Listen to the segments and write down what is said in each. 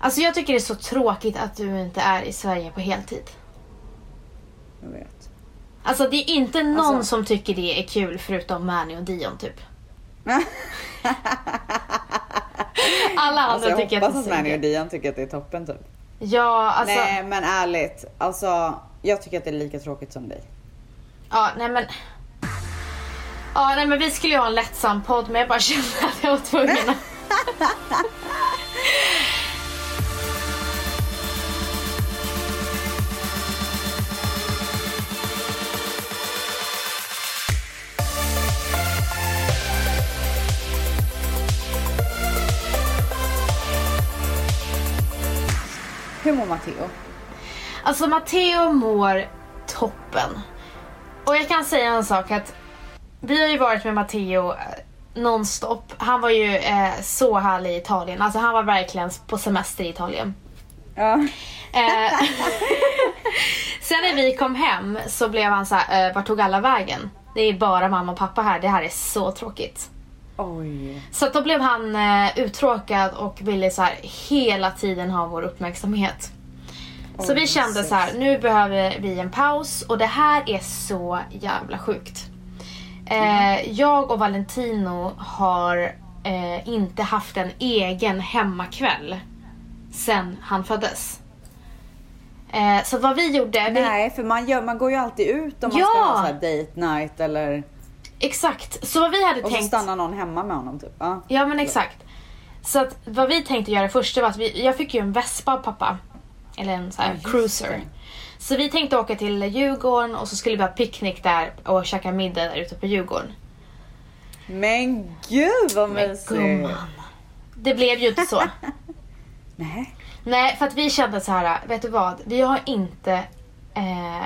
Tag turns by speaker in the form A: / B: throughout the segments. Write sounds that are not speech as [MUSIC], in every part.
A: Alltså jag tycker det är så tråkigt att du inte är i Sverige på heltid.
B: Jag vet.
A: Alltså det är inte någon
B: Alltså-
A: som tycker det är kul förutom Mani och Dion
B: [LAUGHS]
A: typ. Alla andra
B: Alltså, jag
A: tycker
B: hoppas
A: att
B: att
A: det är
B: Mani
A: synd.
B: och Dion tycker att det är toppen typ.
A: Ja, alltså.
B: Nej men ärligt, alltså jag tycker att det är lika tråkigt som dig.
A: Ja, nej men. Ja, nej men vi skulle ju ha en lättsam podd men jag bara kände att jag var tvungen att...
B: Hur mår Matteo?
A: Alltså Matteo mår toppen. Och jag kan säga en sak att vi har ju varit med Matteo eh, nonstop. Han var ju eh, så härlig i Italien. Alltså han var verkligen på semester i Italien.
B: Ja.
A: Eh, [LAUGHS] sen när vi kom hem så blev han så här, eh, vart tog alla vägen? Det är bara mamma och pappa här, det här är så tråkigt.
B: Oj.
A: Så att då blev han eh, uttråkad och ville så här, hela tiden ha vår uppmärksamhet. Så
B: Oj,
A: vi kände
B: precis.
A: så här, nu behöver vi en paus och det här är så jävla sjukt. Eh, jag och Valentino har eh, inte haft en egen hemmakväll sen han föddes. Eh, så vad vi gjorde, vi,
B: Nej för man, gör, man går ju alltid ut om man
A: Ja.
B: ska ha så här date night eller
A: exakt, så vad vi hade
B: och så
A: tänkt.
B: stannar någon hemma med honom typ. Ja.
A: Ja men exakt. Så att vad vi tänkte göra först det var att vi, jag fick ju en Vespa av pappa. Eller en sån
B: Ja,
A: här
B: just
A: cruiser.
B: det.
A: Så vi tänkte åka till Djurgården och så skulle vi ha picknick där och käka middag där ute på Djurgården.
B: Men gud vad mysigt.
A: gumman. Det blev ju inte så.
B: Nej.
A: Nej, för att vi kände så här, vet du vad? Vi har inte eh,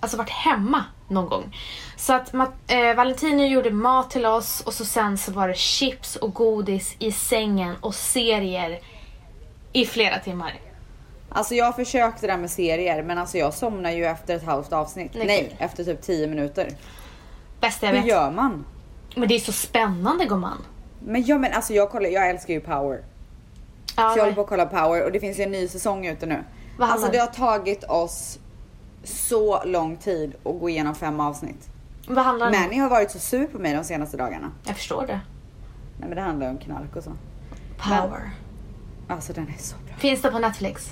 A: alltså varit hemma någon gång. Så att Ma- eh, Valentino gjorde mat till oss och så sen så var det chips och godis i sängen och serier i flera timmar.
B: Alltså jag försökte det där med serier men alltså jag somnar ju efter ett halvt avsnitt.
A: Nej.
B: Nej, efter typ 10 minuter.
A: Bästa jag
B: Hur
A: vet.
B: gör man?
A: Men det är så spännande gumman.
B: Men ja men alltså jag kollar, jag älskar ju power.
A: Ja,
B: Så jag håller på att kolla Power och det finns ju en ny säsong ute nu.
A: Vad
B: alltså
A: handlar
B: det har tagit oss så lång tid att gå igenom fem avsnitt.
A: Vad handlar det om?
B: Manny har varit så sur på mig de senaste dagarna.
A: Jag förstår det.
B: Nej men det handlar ju om knark och så.
A: Power.
B: Alltså den är så bra.
A: Finns det på Netflix?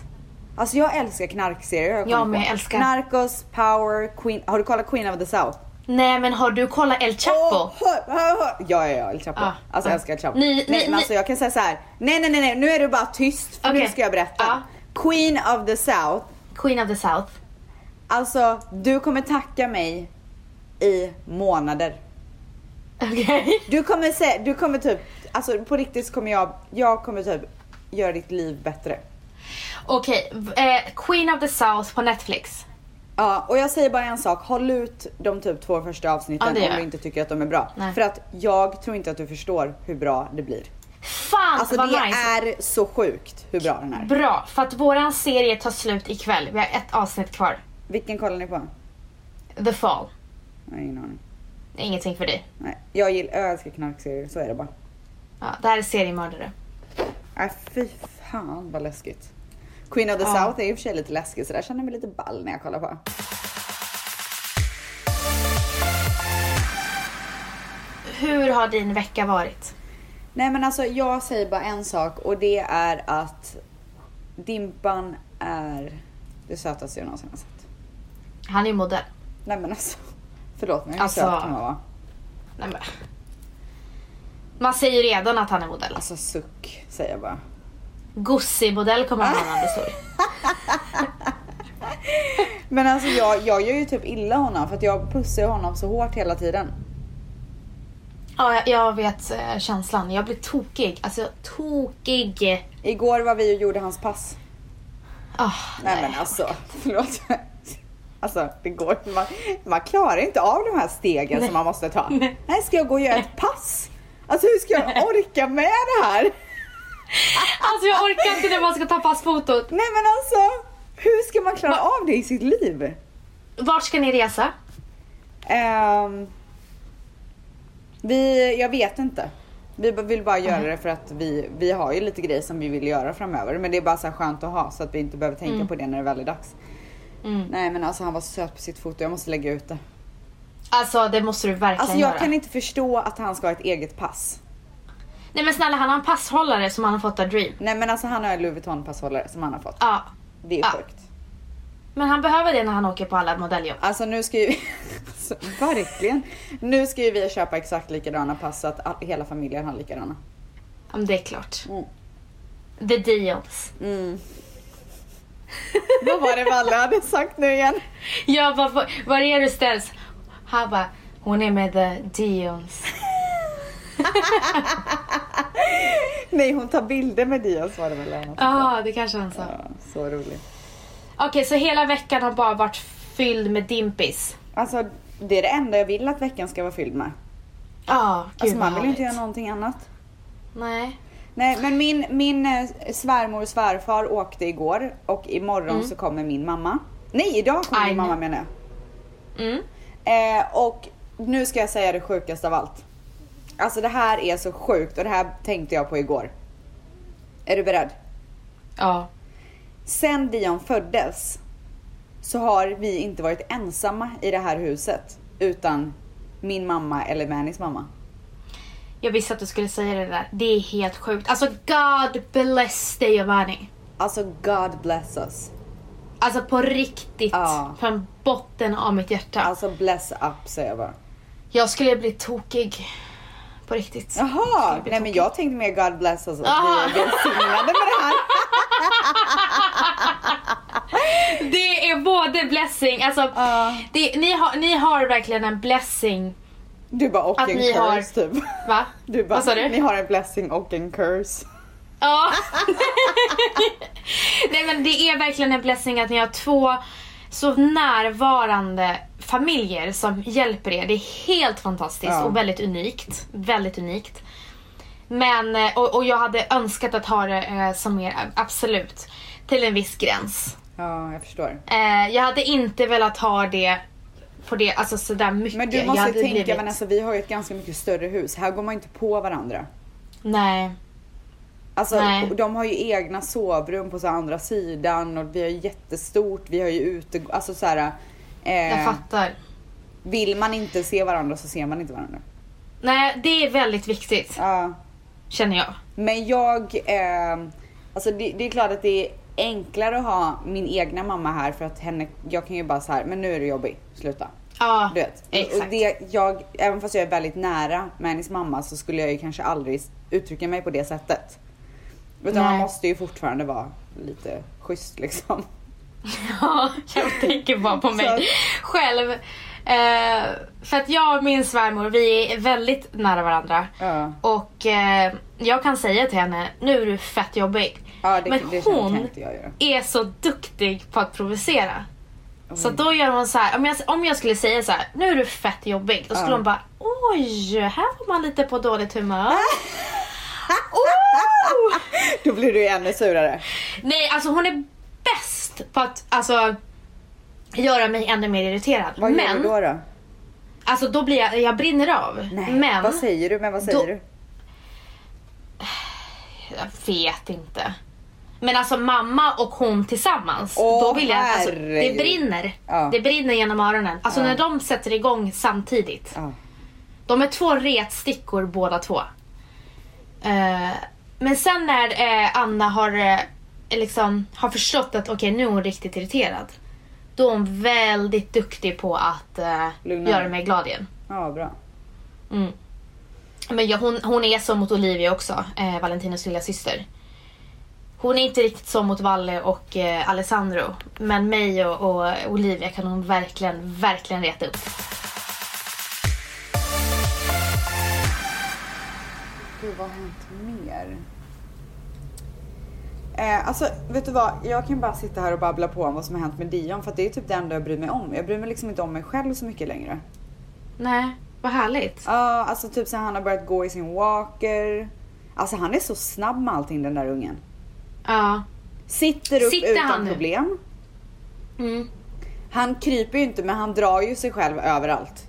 B: Alltså jag älskar knarkserier. har
A: Jag
B: kommit
A: med,
B: på.
A: jag älskar.
B: Narcos, Power, Queen. Har du kollat Queen of the South?
A: Nej men har du kollat El Chapo?
B: Åh, hör, hör, hör. Ja, ja, ja, El Chapo.
A: Ah,
B: alltså
A: ah.
B: jag älskar El Chapo.
A: Ni-
B: nej,
A: ni-
B: men
A: ni-
B: alltså jag kan säga så här. Nej, nej, nej, nej. nu är du bara tyst för
A: Okej.
B: nu ska jag berätta.
A: Ah.
B: Queen of the South
A: Queen of the South. [LAUGHS]
B: Alltså, du kommer tacka mig i månader.
A: Okej.
B: Du kommer se, du kommer typ, alltså på riktigt så kommer jag, jag kommer typ göra ditt liv bättre.
A: Okej, v- eh, Queen of the South på Netflix.
B: Ja, och jag säger bara en sak, håll ut de typ två första
A: Ja,
B: avsnitten
A: det gör
B: om du
A: jag.
B: inte tycker att de är bra.
A: Nej.
B: För att jag tror inte att du förstår hur bra det blir.
A: Fan
B: Alltså
A: vad
B: det
A: nice.
B: är så sjukt hur bra den är.
A: Bra, för att våran serie tar slut ikväll. Vi har ett avsnitt kvar.
B: Vilken kollar ni på?
A: The Fall.
B: Jag har ingen aning.
A: Det är Ingenting för dig.
B: Nej, jag gillar, jag älskar knarkserier, så är det bara.
A: Ja, det här är seriemördare.
B: Nej Äh, fy fan vad läskigt. Queen of the
A: Ja.
B: South är i och för sig lite läskig så där känner jag mig lite ball när jag kollar på.
A: Hur har din vecka varit?
B: Nej men alltså jag säger bara en sak och det är att Dimpan är det sötaste jag någonsin har sett.
A: Han är ju modell.
B: Nej men alltså. Förlåt mig, hur
A: Alltså-
B: söt kan man vara?
A: Nej, men. Man säger ju redan att han är modell.
B: Alltså suck säger jag bara.
A: Gossi-modell kommer han när han blir
B: [LAUGHS]
A: stor.
B: Men alltså jag, jag gör ju typ illa honom för att jag pussar ju honom så hårt hela tiden.
A: Ja, jag, jag vet eh, känslan. Jag blir tokig. Alltså tokig.
B: Igår var vi och gjorde hans pass.
A: Ah,
B: Nej, men alltså, förlåt. Alltså det går man, man klarar inte av de här stegen som man måste ta. Nej. ska jag gå och göra ett pass? Alltså hur ska jag orka med det här?
A: Alltså jag orkar inte när man ska ta passfotot.
B: Nej men alltså, hur ska man klara av det i sitt liv?
A: Vart ska ni resa?
B: Ehm, vi, jag vet inte. Vi b- vill bara göra det för att vi, vi har ju lite grejer som vi vill göra framöver. Men det är bara så här skönt att ha så att vi inte behöver tänka på det när det väl är dags.
A: Mm.
B: Nej men alltså han var så söt på sitt foto, jag måste lägga ut det.
A: Alltså det måste du verkligen
B: Alltså jag
A: göra.
B: kan inte förstå att han ska ha ett eget pass.
A: Nej men snälla han har en passhållare som han har fått av Dream.
B: Nej men alltså han har en Louis Vuitton passhållare som han har fått.
A: Ja.
B: Det är
A: Ja.
B: sjukt.
A: Men han behöver det när han åker på alla modelljobb.
B: Alltså nu ska ju... [LAUGHS] alltså, verkligen. Nu ska ju vi köpa exakt likadana pass så att all- hela familjen har likadana.
A: Ja, men det är klart.
B: Mm.
A: The deals.
B: Mm. Vad var det Valle hade sagt nu igen?
A: Jag bara, "Var- var är du ställs? Han bara, hon är med the deals.
B: Nej hon tar bilder med Diaz var det väl? eller något sånt där.
A: Ja, det kanske han sa.
B: Ja, så roligt.
A: Okej, så hela veckan har bara varit fylld med dimpis.
B: Alltså det är det enda jag vill att veckan ska vara fylld med.
A: Ja, gud
B: Alltså
A: vad
B: man vill ju inte
A: härligt.
B: göra någonting annat.
A: Nej.
B: Nej men min, min eh, svärmor och svärfar åkte igår och imorgon så kommer min mamma. Nej idag
A: Mm.
B: kommer
A: Aj,
B: min
A: nej.
B: mamma menar jag.
A: Mm.
B: Eh, och nu ska jag säga det sjukaste av allt. Alltså det här är så sjukt och det här tänkte jag på igår. Är du beredd?
A: Ja.
B: Sen Dion föddes så har vi inte varit ensamma i det här huset utan min mamma eller Manis mamma.
A: Jag visste att du skulle säga det där. Det är helt sjukt. Alltså God bless dig Giovanni.
B: Alltså God bless us.
A: Alltså på riktigt.
B: Ja.
A: Från botten av mitt hjärta.
B: Alltså bless up säger jag bara.
A: Jag skulle bli tokig. På riktigt.
B: Jaha,
A: bli Ah!
B: nej men
A: tokig.
B: jag tänkte mer God bless us att
A: Aha.
B: vi är välsignade med det här.
A: Det är både blessing, alltså
B: Ja.
A: det, ni, har, ni har verkligen en blessing.
B: Du bara och
A: Att
B: en
A: ni
B: curse
A: har-
B: typ.
A: Va?
B: Du bara,
A: Vad sa du?
B: ni har en blessing och en curse.
A: Ja. [LAUGHS] Nej men det är verkligen en blessing att ni har två så närvarande familjer som hjälper er. Det är helt fantastiskt
B: Ja.
A: och väldigt unikt. Väldigt unikt. Men, eh, och, och jag hade önskat att ha det eh, som er, ab- absolut. Till en viss gräns.
B: Ja, jag förstår.
A: Eh, jag hade inte velat ha det på det, alltså sådär mycket.
B: Men du
A: jag
B: måste
A: hade
B: tänka
A: blivit-
B: Vanessa, vi har ju ett ganska mycket större hus. Här går man ju inte på varandra.
A: Nej.
B: Alltså,
A: Nej.
B: de har ju egna sovrum på så andra sidan och vi har ju jättestort, vi har ju ute... Alltså så här,
A: Jag
B: eh,
A: fattar.
B: Vill man inte se varandra så ser man inte varandra.
A: Nej, det är väldigt viktigt
B: Ja.
A: känner jag.
B: Men jag... Eh, alltså det, det är klart att det är enklare att ha min egna mamma här för att henne... Jag kan ju bara så här, men nu är du jobbig, sluta.
A: Ja,
B: Du vet. Och- Och
A: exakt.
B: det jag, även fast jag är väldigt nära med hennes mamma så skulle jag ju kanske aldrig s- uttrycka mig på det sättet. Utan man
A: Nej.
B: måste ju fortfarande vara lite schysst liksom.
A: [LAUGHS] Ja, jag tänker bara på
B: [LAUGHS] Så att-
A: mig själv. Eh, för att jag och min svärmor, vi är väldigt nära varandra.
B: Ja.
A: Och eh, jag kan säga till henne, nu är du fett jobbig.
B: Ja, det,
A: Men
B: det känner-
A: hon
B: kan inte jag göra.
A: är så duktig på att provocera. Så
B: Mm.
A: då gör hon så här, om jag, om jag skulle säga så här, nu är du fett jobbig. Då skulle
B: Ja.
A: hon bara, oj, här var man lite på dåligt humör.
B: Äh?
A: Oh!
B: [LAUGHS] Då blir du ju ännu surare.
A: Nej, alltså hon är bäst på att alltså, göra mig ännu mer irriterad.
B: Vad
A: Men,
B: gör du då? då?
A: alltså då blir jag, jag brinner av.
B: Nej,
A: Men,
B: vad säger du? Men vad säger
A: då-
B: du?
A: jag vet inte. Men alltså mamma och hon tillsammans,
B: Åh,
A: då vill jag, alltså, det
B: herregud.
A: brinner.
B: Ja.
A: Det brinner genom öronen. Alltså
B: Ja.
A: när de sätter igång samtidigt.
B: Ja.
A: De är två retstickor båda två. Eh, men sen när eh, Anna har, eh, liksom, har förstått att okej nu är hon riktigt irriterad. Då är hon väldigt duktig på att eh,
B: Lugna
A: göra
B: ner.
A: mig glad igen.
B: ja, bra.
A: Mm. Men ja, hon, hon är så mot Olivia också, eh, Valentinos lilla syster. Hon är inte riktigt så mot Valle och eh, Alessandro. Men mig och, och Olivia kan hon verkligen, verkligen reta upp.
B: Gud, vad har hänt mer? Eh, alltså, vet du vad? Jag kan bara sitta här och babbla på om vad som har hänt med Dion för att det är typ det enda jag bryr mig om. Jag bryr mig liksom inte om mig själv så mycket längre.
A: Nej, vad härligt.
B: Ja, alltså typ så här, han har börjat gå i sin walker. Alltså han är så snabb med allting den där ungen.
A: Ja.
B: Sitter upp
A: Sitter
B: utan
A: han nu?
B: problem.
A: Mm.
B: Han kryper ju inte men han drar ju sig själv överallt.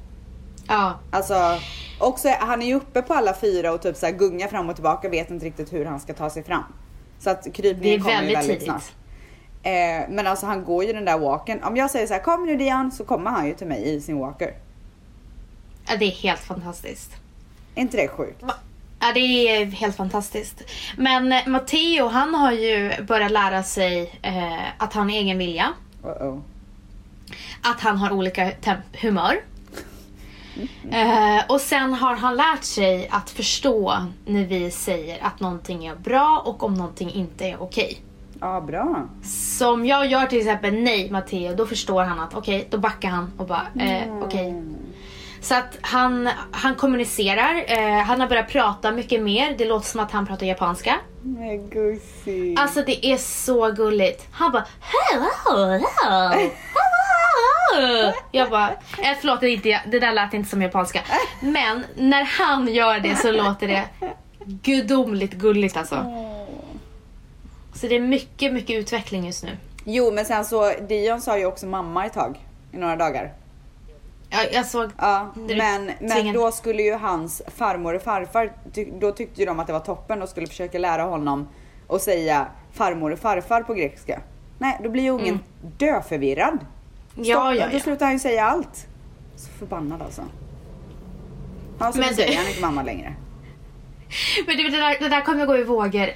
A: Ja.
B: Alltså, Och så är, han är ju uppe på alla fyra och typ så här gungar fram och tillbaka vet inte riktigt hur han ska ta sig fram. Så att
A: Det är
B: krypningen kommer ju
A: väldigt
B: väldigt
A: tidigt.
B: snabbt. Eh, men alltså han går ju den där walken. Om jag säger så här, kom nu Dion, så kommer han ju till mig i sin walker.
A: Ja, det är helt fantastiskt.
B: Är inte det sjukt?
A: Va- Ja, det är helt fantastiskt. Men eh, Matteo, han har ju börjat lära sig eh, att han har egen vilja.
B: Uh -oh.
A: att han har olika temp- humör. Eh, och sen har han lärt sig att förstå när vi säger att någonting är bra och om någonting inte är okej.
B: Ja, bra.
A: Som jag gör till exempel nej Matteo, då förstår han att okej, då backar han och bara eh, okej. Så att han, han kommunicerar, eh, han har börjat prata mycket mer, det låter som att han pratar japanska.
B: Men gosig.
A: Alltså det är så gulligt. Han bara hello, hello, hello. Jag bara, eh, förlåt det, är inte, jag. det där lät inte som japanska. Men när han gör det så låter det gudomligt gulligt alltså. Så det är mycket, mycket utveckling just nu.
B: Jo, men sen så Dion sa ju också mamma ett tag i några dagar.
A: Jag, jag såg,
B: Ja,
A: Det är
B: men, men
A: tvingande.
B: då skulle ju hans farmor och farfar, ty, då tyckte ju de att det var toppen och skulle försöka lära honom att säga farmor och farfar på grekiska. Nej, då blir ju ungen döförvirrad.
A: Mm. ja, ja,
B: Då
A: ja.
B: slutar han ju säga allt. Så förbannad alltså. Ja, så
A: Men
B: men
A: du-
B: säger han inte mamma längre.
A: Men du, det, där, det där kommer gå i vågor.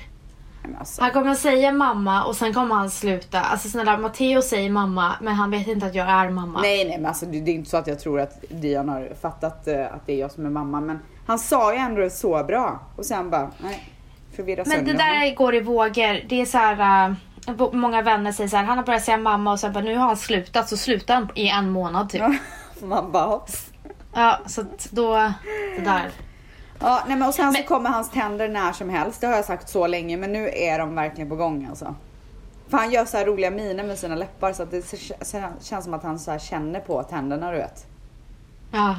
B: Nej, men alltså.
A: Han kommer säga mamma och sen kommer han sluta. Alltså snälla, Matteo säger mamma men han vet inte att jag är mamma.
B: Nej, nej, men alltså det, det är inte så att jag tror att Dion har fattat eh, att det är jag som är mamma, men han sa ju ändå så bra och sen bara, nej, förvirra
A: Men det
B: sönder honom.
A: där går i vågor. Det är så här, äh, bo- många vänner säger så här, han har börjat säga mamma och sen bara, nu har han slutat så slutar han i en månad typ. Ja,
B: [LAUGHS] Man bara, hopps.
A: så att då, det där.
B: Ja, nej men och sen
A: Men-
B: så kommer hans tänder när som helst. Det har jag sagt så länge men nu är de verkligen på gång alltså. För han gör så här roliga miner med sina läppar så att det k- k- känns som att han så här känner på tänderna du vet.
A: Ja.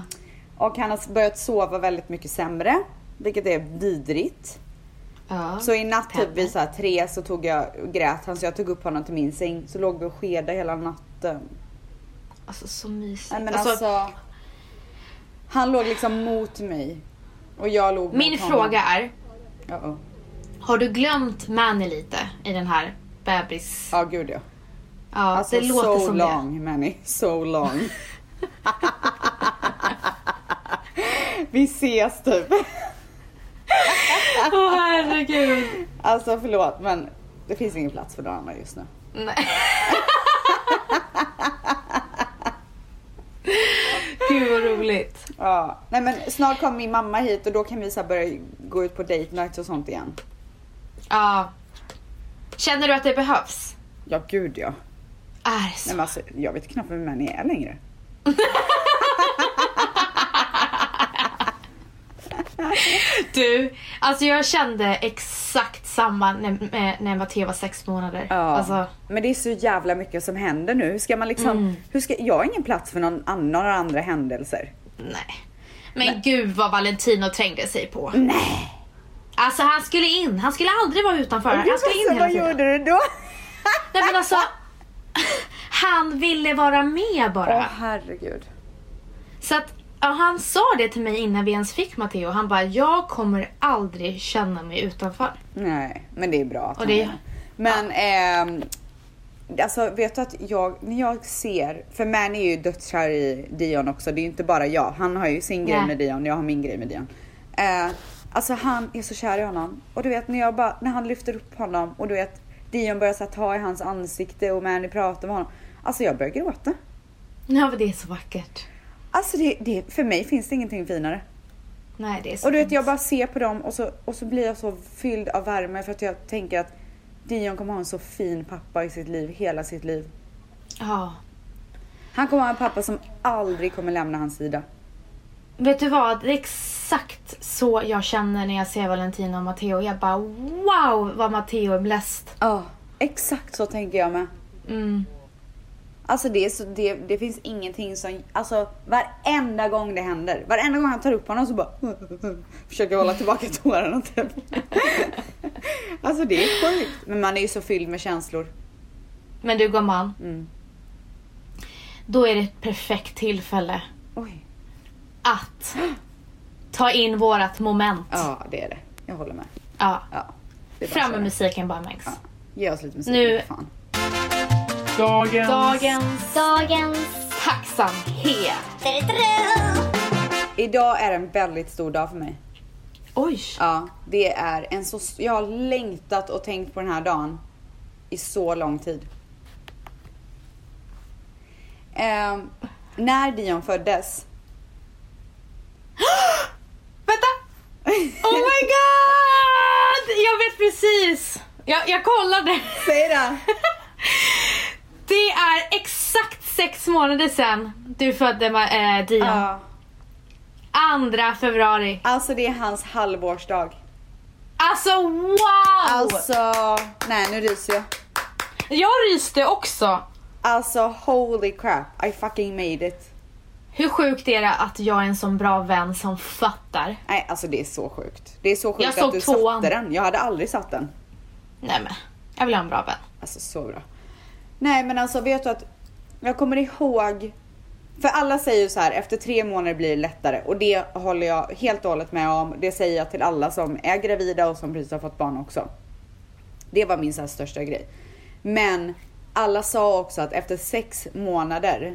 B: Och han har börjat sova väldigt mycket sämre. Vilket är vidrigt.
A: ja.
B: Så i natt typ
A: Tänder.
B: vid så här tre så tog jag, grät han så jag tog upp honom till min säng. Så låg vi och skedade hela natten.
A: Alltså så mysigt.
B: Nej men
A: alltså,
B: alltså. han låg liksom mot mig. Och jag låg
A: min
B: mot honom.
A: fråga är,
B: Ja, ja.
A: har du glömt Manny lite i den här bebis...
B: Ja gud ja.
A: Ja,
B: Alltså
A: det låter
B: so
A: som det.
B: long Manny,
A: [LAUGHS]
B: so long. Vi ses typ.
A: Åh herregud.
B: Alltså förlåt men det finns ingen plats för någon annan just nu. [LAUGHS]
A: Nej. Gud vad roligt.
B: Ja. Nej men snart kommer min mamma hit och då kan vi så här börja gå ut på date nights och sånt igen.
A: Ja. Känner du att det behövs?
B: Ja gud ja.
A: Är det
B: Nej
A: så?
B: men alltså jag vet knappt vem Manny är längre.
A: Du, alltså jag kände exakt samma när, eh, när Matteo var sex månader.
B: Ja.
A: Alltså, Mm.
B: Men det är så jävla mycket som händer nu. Hur ska man liksom, hur ska, jag har ingen plats för någon annan, några andra händelser.
A: nej. Men gud vad Valentino trängde sig på.
B: Nej.
A: Alltså han skulle in, han skulle aldrig vara utanför.
B: Gud,
A: Han skulle in
B: alltså,
A: hela
B: vad
A: tiden.
B: gjorde du då?
A: Nej men alltså, [LAUGHS] han ville vara med
B: Åh
A: bara.
B: herregud.
A: Så att ja, han sa det till mig innan vi ens fick Matteo. Han bara, jag kommer aldrig känna mig utanför.
B: Nej, men det är bra att
A: Och
B: han
A: det-
B: gör det. Men ehm, alltså vet du att jag, när jag ser, för man är ju dödskär i Dion också. Det är ju inte bara jag. Han har ju sin grej
A: Nej.
B: med Dion, jag har min grej med Dion. Eh, alltså han är så kär i honom. Och du vet när jag bara, när han lyfter upp honom och du vet Dion börjar så här, ta i hans ansikte och Manny pratar med honom. Alltså jag börjar gråta.
A: Ja men det är så vackert.
B: Alltså det, det, för mig finns det ingenting finare.
A: Nej det är så
B: Och du vet
A: fint.
B: jag bara ser på dem och så, och så blir jag så fylld av värme för att jag tänker att Dion kommer ha en så fin pappa i sitt liv, hela sitt liv.
A: Ja.
B: Han kommer ha en pappa som aldrig kommer lämna hans sida.
A: Vet du vad? Det är exakt så jag känner när jag ser Valentino och Matteo. Jag bara wow vad Matteo är bläst.
B: Ja, exakt så tänker jag med.
A: Mm.
B: Alltså det, är så, det, det finns ingenting som, alltså varenda gång det händer, varenda gång han tar upp honom så bara [LAUGHS] försöker hålla tillbaka tårarna typ. [LAUGHS] alltså det är sjukt. Men man är ju så fylld med känslor.
A: Men du gumman,
B: Mm.
A: då är det ett perfekt tillfälle
B: Oj.
A: att Ta in vårat moment. Ja.
B: Ja, det är det. Jag håller med. Ja. Det är bara
A: Fram
B: så
A: med
B: det är.
A: musiken bara Max.
B: Ja. Ge oss lite musik.
A: Nu-
B: Fan.
C: Dagens.
A: Dagens
D: Dagens...
A: tacksamhet.
B: Idag är en väldigt stor dag för mig.
A: Oj.
B: Ja, det är en så... Jag har längtat och tänkt på den här dagen i så lång tid. Ehm, när Dion föddes.
A: Vänta! [LAUGHS] Oh my god! Jag vet precis. Jag, jag kollade.
B: [LAUGHS] Säg det!
A: Det är exakt sex månader sedan du födde Ma- eh, Dion.
B: Ja.
A: Andra februari.
B: Alltså det är hans halvårsdag.
A: Alltså wow!
B: Alltså, nej nu ryser jag.
A: Jag ryste också.
B: Alltså holy crap, I fucking made it.
A: Hur sjukt är det att jag är en sån bra vän som fattar?
B: Nej alltså det är så sjukt. Det är så
A: Jag
B: sjukt
A: såg
B: att du
A: tvåan.
B: satte den. Jag hade aldrig satt den.
A: Nej men, jag vill ha en bra vän.
B: Alltså så bra. Nej men alltså vet du att jag kommer ihåg. För alla säger ju så här efter tre månader blir det lättare och det håller jag helt och hållet med om. Det säger jag till alla som är gravida och som precis har fått barn också. Det var min så här största grej. Men alla sa också att efter sex månader,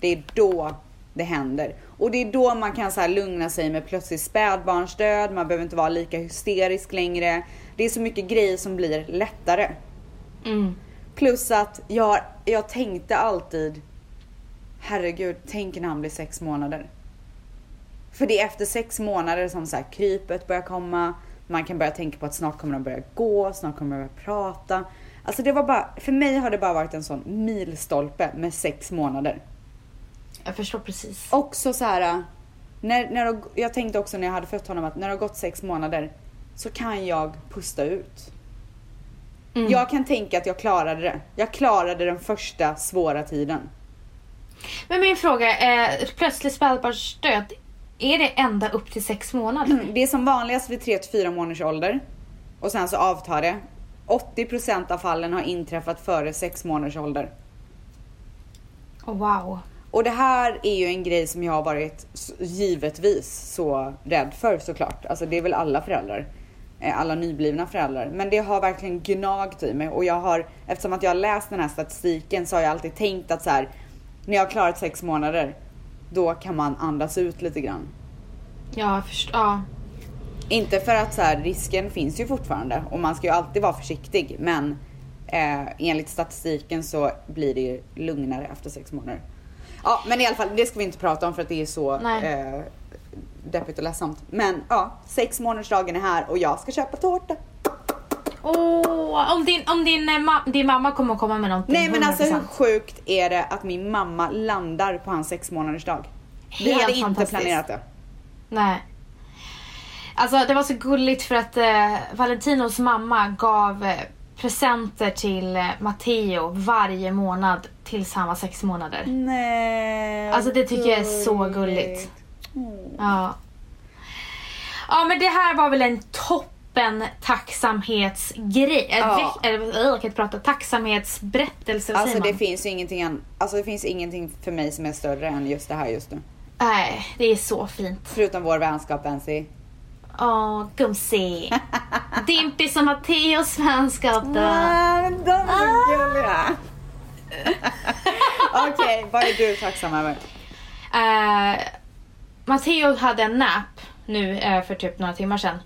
B: det är då det händer. Och det är då man kan så här lugna sig med plötslig spädbarnsdöd, man behöver inte vara lika hysterisk längre. Det är så mycket grejer som blir lättare.
A: Mm.
B: Plus att jag, jag tänkte alltid, herregud, tänk när han blir sex månader. För det är efter sex månader som så här, krypet börjar komma, man kan börja tänka på att snart kommer de börja gå, snart kommer de börja prata. Alltså det var bara, för mig har det bara varit en sån milstolpe med sex månader.
A: Jag förstår precis.
B: Också så här, när, när jag, jag tänkte också när jag hade fött honom att när det har gått sex månader så kan jag pusta ut.
A: Mm.
B: Jag kan tänka att jag klarade det. Jag klarade den första svåra tiden. [CLEARS THROAT]
A: Men min fråga, eh, plötslig spädbarnsdöd, är det ända upp till sex månader?
B: Det är som vanligast vid 3 till 4 månaders ålder och sen så avtar det. 80% av fallen har inträffat före 6 månaders ålder.
A: Oh, wow.
B: Och det här är ju en grej som jag har varit s- givetvis så rädd för såklart. Alltså det är väl alla föräldrar. Eh, Alla nyblivna föräldrar. Men det har verkligen gnagt i mig och jag har, eftersom att jag har läst den här statistiken så har jag alltid tänkt att så här, när jag har klarat sex månader, då kan man andas ut lite grann.
A: Ja, jag förstår. Ja.
B: Inte för att så här, risken finns ju fortfarande och man ska ju alltid vara försiktig men eh, enligt statistiken så blir det ju lugnare efter sex månader. Ja men i alla fall det ska vi inte prata om för att det är så
A: Nej.
B: eh, deppigt och ledsamt. Men ja, sex månadersdagen är här och jag ska köpa tårta.
A: Åh, om din, om din, eh, ma- din mamma kommer komma med någonting.
B: Nej men alltså hur
A: 100%.
B: sjukt är det att min mamma landar på hans sex månadersdag? Vi
A: Helt
B: hade inte
A: fantastiskt.
B: planerat det.
A: Nej. Alltså det var så gulligt för att eh, Valentinos mamma gav eh, presenter till eh, Matteo varje månad tills han var sex månader.
B: Nej.
A: Alltså det tycker jag är så gulligt. Ja. Ja men det här var väl en toppen tacksamhetsgrej.
B: Ja.
A: Ja. Eller eh, jag kan inte prata. Tacksamhetsberättelse vad
B: Alltså
A: säger
B: det
A: man?
B: finns ju ingenting, an- alltså det finns ingenting för mig som är större än just det här just nu.
A: Nej, det är så fint.
B: Förutom vår vänskap Nancy.
A: Åh,
B: [LAUGHS]
A: gumsi. Dimpis och Matteos vänskap då. Ah!
B: de är så Ah, gulliga. [LAUGHS] Okej, vad är du tacksam över?
A: Eh, Matteo hade en nap nu eh, för typ några timmar sedan.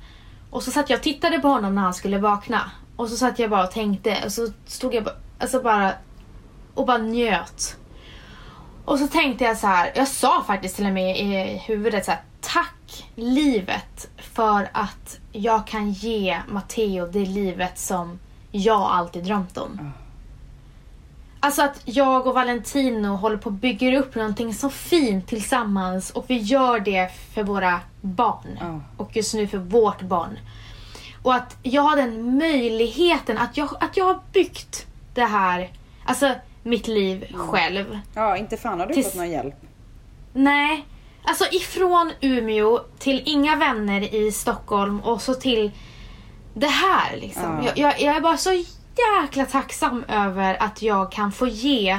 A: Och så satt jag och tittade på honom när han skulle vakna. Och så satt jag bara och tänkte och så stod jag bara, alltså bara och bara njöt. Och så tänkte jag så här, jag sa faktiskt till och med i huvudet så här, tack livet för att jag kan ge Matteo det livet som jag alltid drömt om. Alltså att jag och Valentino håller på och bygger upp någonting så fint tillsammans och vi gör det för våra barn.
B: Ja.
A: Och just nu för vårt barn. Och att jag har den möjligheten, att jag, att jag har byggt det här, alltså mitt liv själv.
B: Ja, inte fan har du
A: Tills-
B: fått någon hjälp.
A: Nej. Alltså ifrån Umeå till inga vänner i Stockholm och så till det här liksom.
B: Ja.
A: Jag, jag, jag är bara så jäkla tacksam över att jag kan få ge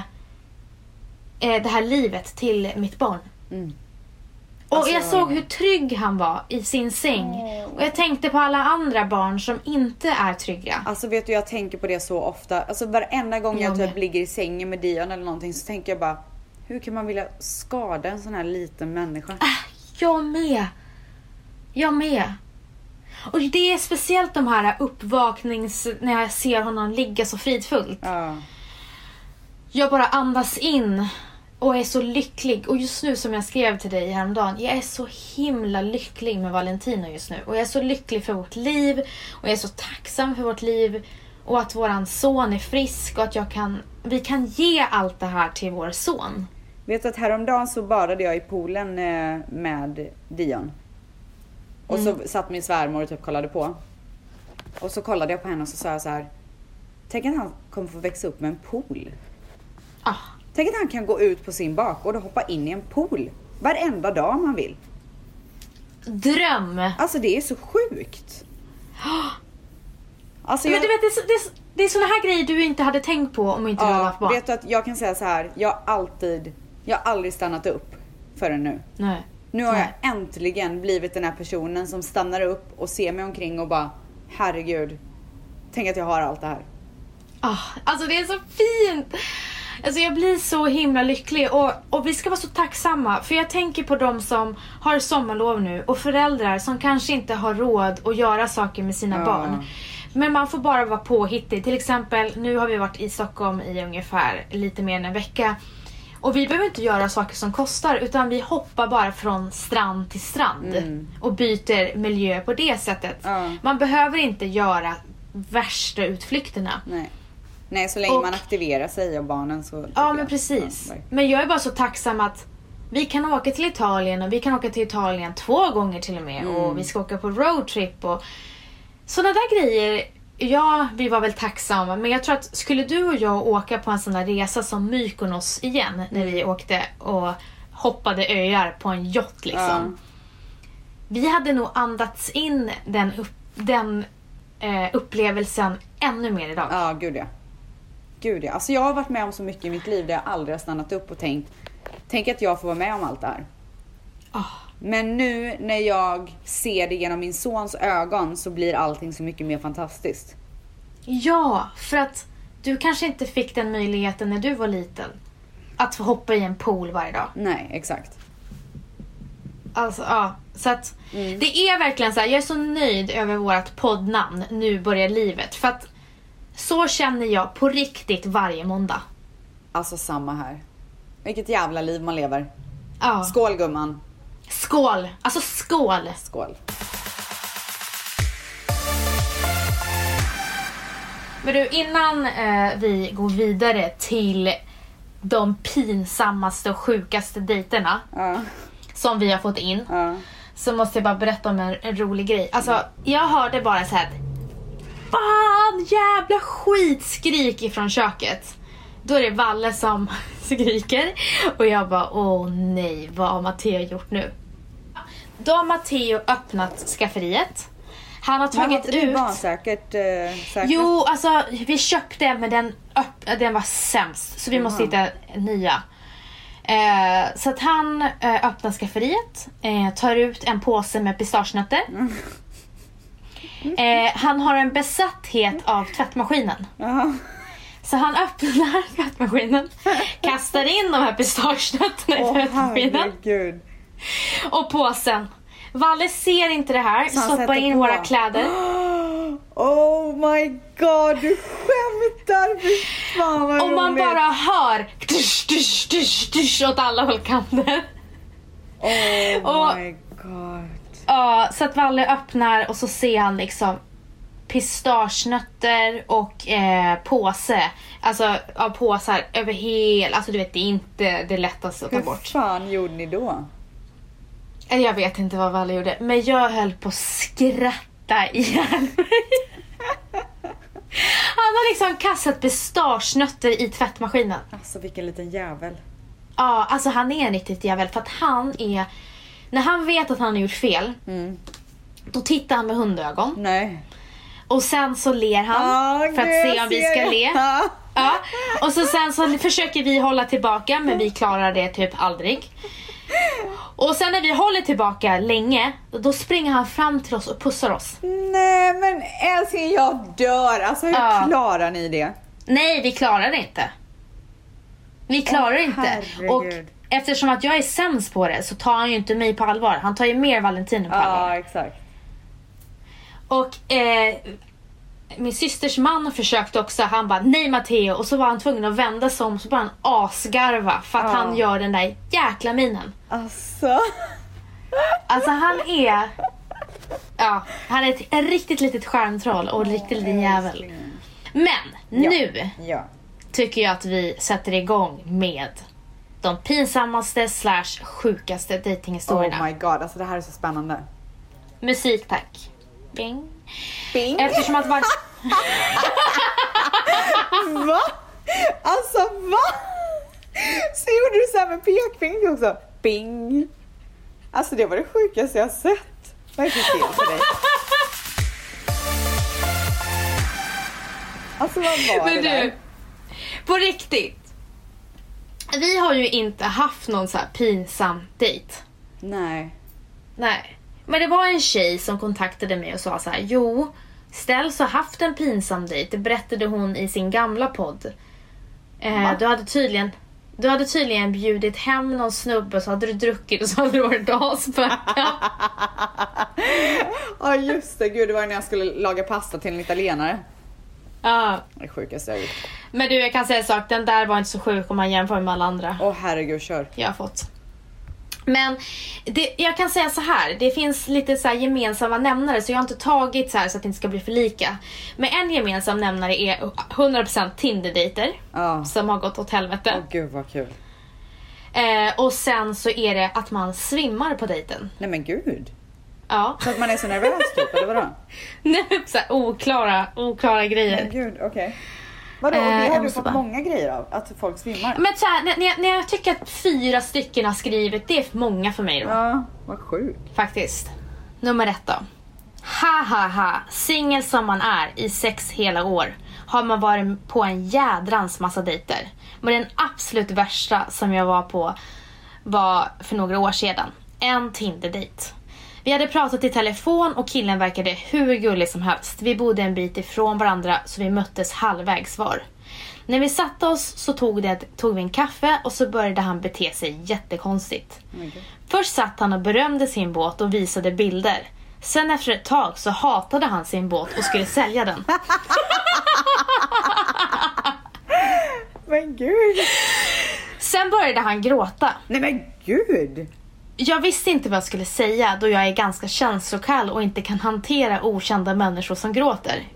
A: eh, det här livet till mitt barn.
B: Mm.
A: Och
B: Alltså,
A: jag
B: jag
A: såg
B: håller
A: hur trygg han var i sin säng.
B: Åh.
A: Och jag tänkte på alla andra barn som inte är trygga.
B: Alltså vet du jag tänker på det så ofta. Alltså varenda gång jag
A: Jag
B: typ
A: med.
B: ligger i sängen med Dion eller någonting så tänker jag bara hur kan man vilja skada en sån här liten människa?
A: Äh, Jag med. Jag med. Och det är speciellt de här uppvaknings... När jag ser honom ligga så fridfullt.
B: Ja.
A: Jag bara andas in och är så lycklig. Och just nu som jag skrev till dig häromdagen. Jag är så himla lycklig med Valentino just nu. Och jag är så lycklig för vårt liv. Och jag är så tacksam för vårt liv. Och att våran son är frisk och att jag kan... Vi kan ge allt det här till vår son.
B: Vet du att häromdagen så badade jag i poolen eh, med Dion. Och så
A: Mm.
B: satt min svärmor och typ kollade på. Och så kollade jag på henne och så sa jag så här. Tänk att han kommer få växa upp med en pool.
A: Ah,
B: Tänk att han kan gå ut på sin bakgård och hoppa in i en pool. Varenda dag om han vill.
A: dröm!
B: Alltså det är så sjukt. [GASPS] Alltså
A: Men du vet, det är, så- det är, så- det är såna här grejer du inte hade tänkt på om inte du hade haft
B: ja,
A: barn.
B: vet du att jag kan säga så här. Jag har alltid, jag har aldrig stannat upp förrän nu.
A: Nej.
B: Nu har
A: Nej.
B: jag äntligen blivit den här personen som stannar upp och ser mig omkring och bara herregud. Tänk att jag har allt det här.
A: Ah, alltså det är så fint! Alltså jag blir så himla lycklig och, och vi ska vara så tacksamma för jag tänker på de som har sommarlov nu och föräldrar som kanske inte har råd att göra saker med sina
B: Ja.
A: barn. Men man får bara vara påhittig. Till exempel, nu har vi varit i Stockholm i ungefär lite mer än en vecka. Och vi behöver inte göra saker som kostar utan vi hoppar bara från strand till strand. Och byter miljö på det sättet.
B: Mm. Ja.
A: Man behöver inte göra värsta utflykterna.
B: Nej. Nej, så länge
A: Och-
B: man aktiverar sig och barnen så. tycker
A: Ja
B: jag-
A: men precis.
B: Ja, verkligen.
A: Men jag är bara så tacksam att vi kan åka till Italien och vi kan åka till Italien två gånger till och med
B: Mm.
A: och vi ska åka på roadtrip och sådana där grejer. Ja, vi var väl tacksamma men jag tror att skulle du och jag åka på en sån där resa som Mykonos igen när
B: Mm.
A: vi åkte och hoppade öar på en yacht liksom. Vi hade nog andats in den, upp, den eh, upplevelsen ännu mer idag.
B: Ja, gud ja. Gud ja. Alltså jag har varit med om så mycket i mitt liv där jag aldrig har stannat upp och tänkt. Tänk att jag får vara med om allt det här.
A: Ah.
B: Men nu när jag ser det genom min sons ögon så blir allting så mycket mer fantastiskt.
A: Ja, för att du kanske inte fick den möjligheten när du var liten. Att få hoppa i en pool varje dag.
B: Nej, exakt.
A: Alltså, ja. Så att det är verkligen så här, jag är så nöjd över vårt poddnamn Nu börjar livet. För att så känner jag på riktigt varje måndag.
B: Alltså samma här. Vilket jävla liv man lever.
A: Ja.
B: Skål gumman.
A: Skål! Alltså skål!
B: Skål.
A: Men du, innan eh, vi går vidare till de pinsammaste och sjukaste dejterna
B: Ja,
A: som vi har fått in.
B: ja.
A: så måste jag bara berätta om en, en rolig grej.
B: Mm.
A: Alltså, jag hörde bara så här. att, Fan jävla skitskrik ifrån köket. Då är det Valle som [LAUGHS] skriker och jag bara åh nej, vad har Matteo gjort nu? Då har Matteo öppnat skafferiet. Han har
B: Men var
A: tagit
B: inte det
A: ut...
B: barnsäkert? Eh, säkert?
A: Jo, alltså vi köpte en men den, öpp- den var sämst så vi måste hitta nya. Eh, så att han eh, öppnar skafferiet, eh, tar ut en påse med pistagenötter.
B: Mm.
A: Eh, han har en besatthet av tvättmaskinen.
B: Ja.
A: Så han öppnar [LAUGHS] tvättmaskinen, kastar in de här pistagenötterna i [LAUGHS]
B: Åh
A: tvättmaskinen
B: herregud.
A: och påsen. Valle ser inte det här,
B: han
A: stoppar
B: sätter
A: in
B: på.
A: våra kläder.
B: [GASPS] Oh my god, du skämtar! Fy fan vad
A: Och man
B: roligt.
A: bara hör dusch, dusch, dusch, dusch åt alla håll kanter.
B: Oh
A: [LAUGHS] och-
B: my god.
A: Ja, så att Valle öppnar och så ser han liksom pistagenötter och eh, påse. Alltså av påsar över hela, alltså du vet det är inte det lättaste att ta
B: Hur
A: bort.
B: fan gjorde ni då?
A: Eller Jag vet inte vad Valle gjorde, men jag höll på att skratta ihjäl mig. [LAUGHS] Han har liksom kastat pistagenötter i tvättmaskinen.
B: Alltså vilken liten jävel.
A: Ja, alltså han är en riktigt jävel för att han är... När han vet att han har gjort fel,
B: Mm.
A: då tittar han med hundögon.
B: Nej.
A: Och sen så ler han
B: Ah,
A: för
B: gud,
A: att se
B: jag
A: om vi
B: ser
A: ska
B: det.
A: le.
B: Ja.
A: Ja. Och så sen så försöker vi hålla tillbaka men vi klarar det typ aldrig. Och sen när vi håller tillbaka länge, då springer han fram till oss och pussar oss.
B: Nej men älskling jag dör. Alltså hur
A: Ja.
B: klarar ni det?
A: Nej, vi klarar det inte. Vi klarar
B: Åh,
A: inte.
B: herregud.
A: Och eftersom att jag är sämst på det så tar han ju inte mig på allvar. Han tar ju mer Valentino på allvar.
B: exakt.
A: Och eh, min systers man försökte också. Han bara nej Matteo. Och så var han tvungen att vända sig om så började han asgarva för att
B: Ja.
A: han gör den där jäkla minen.
B: Alltså.
A: Alltså han är... Ja, han är ett, ett riktigt litet skärmtroll och en riktig liten jävel.
B: älskling.
A: Men nu
B: Ja.
A: tycker jag att vi sätter igång med de pinsammaste slash sjukaste
B: Oh
A: dejtinghistorierna.
B: my god alltså det här är så spännande.
A: Musik tack. Bing.
B: Bing.
A: Eftersom att var...
B: [LAUGHS] Va? Alltså va? Så gjorde du såhär med pekfingret också. Bing. Alltså det var det sjukaste jag sett. Vad är det för fel på dig? Alltså vad var det
A: Men
B: där?
A: du, på riktigt. Vi har ju inte haft någon så här pinsam dejt.
B: Nej.
A: Nej. Men det var en tjej som kontaktade mig och sa så här: Jo, Ställs har haft en pinsam dejt. Det berättade hon i sin gamla podd. Eh,
B: Va?
A: du, hade tydligen, du hade tydligen bjudit hem någon snubbe så hade du druckit och så hade du varit asböga.
B: Ja just det, gud det var när jag skulle laga pasta till en italienare.
A: [LAUGHS] ja.
B: Det sjukaste jag har gjort.
A: Men du, jag kan säga en sak. Den där var inte så sjuk om man jämför med alla andra.
B: Åh herregud, kör.
A: jag har fått. Men det, jag kan säga så här, det finns lite så här gemensamma nämnare så jag har inte tagit så här så att det inte ska bli för lika. Men en gemensam nämnare är 100% Tinder-dejter
B: Ja.
A: som har gått åt helvete.
B: Åh gud vad kul.
A: Eh, och sen så är det att man svimmar på dejten.
B: Nej men gud.
A: Ja. [LAUGHS]
B: Så att man är så nervös typ, eller vadå?
A: Nej, men så här, oklara, oklara
B: Men
A: grejer.
B: gud, okej. Vadå, och
A: Eh,
B: det har
A: jag
B: du
A: måste
B: fått
A: bara-
B: många grejer av? Att folk svimmar?
A: Men så här, när, när, jag- när jag tycker att fyra stycken har skrivit, det är för många för mig då.
B: Ja, vad sjukt.
A: Faktiskt. Nummer ett då. Ha ha ha, singel som man är i sex hela år har man varit på en jädrans massa dejter. Men den absolut värsta som jag var på var för några år sedan. En Tinder-dejt. Vi hade pratat i telefon och killen verkade hur gullig som helst. Vi bodde en bit ifrån varandra så vi möttes halvvägs var. När vi satte oss så tog, det, tog vi en kaffe och så började han bete sig jättekonstigt. Först satt han och berömde sin båt och visade bilder. Sen efter ett tag så hatade han sin båt och skulle sälja den.
B: Men gud.
A: Sen började han gråta.
B: Nej men gud.
A: Jag visste inte vad jag skulle säga då jag är ganska känslokall och inte kan hantera okända människor som gråter.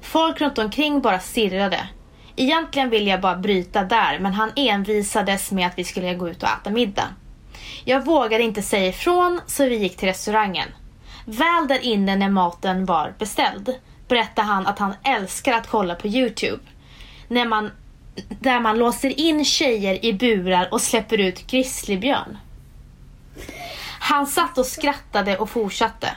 A: Folk runt omkring bara stirrade. Egentligen ville jag bara bryta där men han envisades med att vi skulle gå ut och äta middag. Jag vågade inte säga ifrån så vi gick till restaurangen. Väl där inne när maten var beställd berättade han att han älskar att kolla på Youtube. När man, där man låser in tjejer i burar och släpper ut grizzlybjörn. Han satt och skrattade och fortsatte.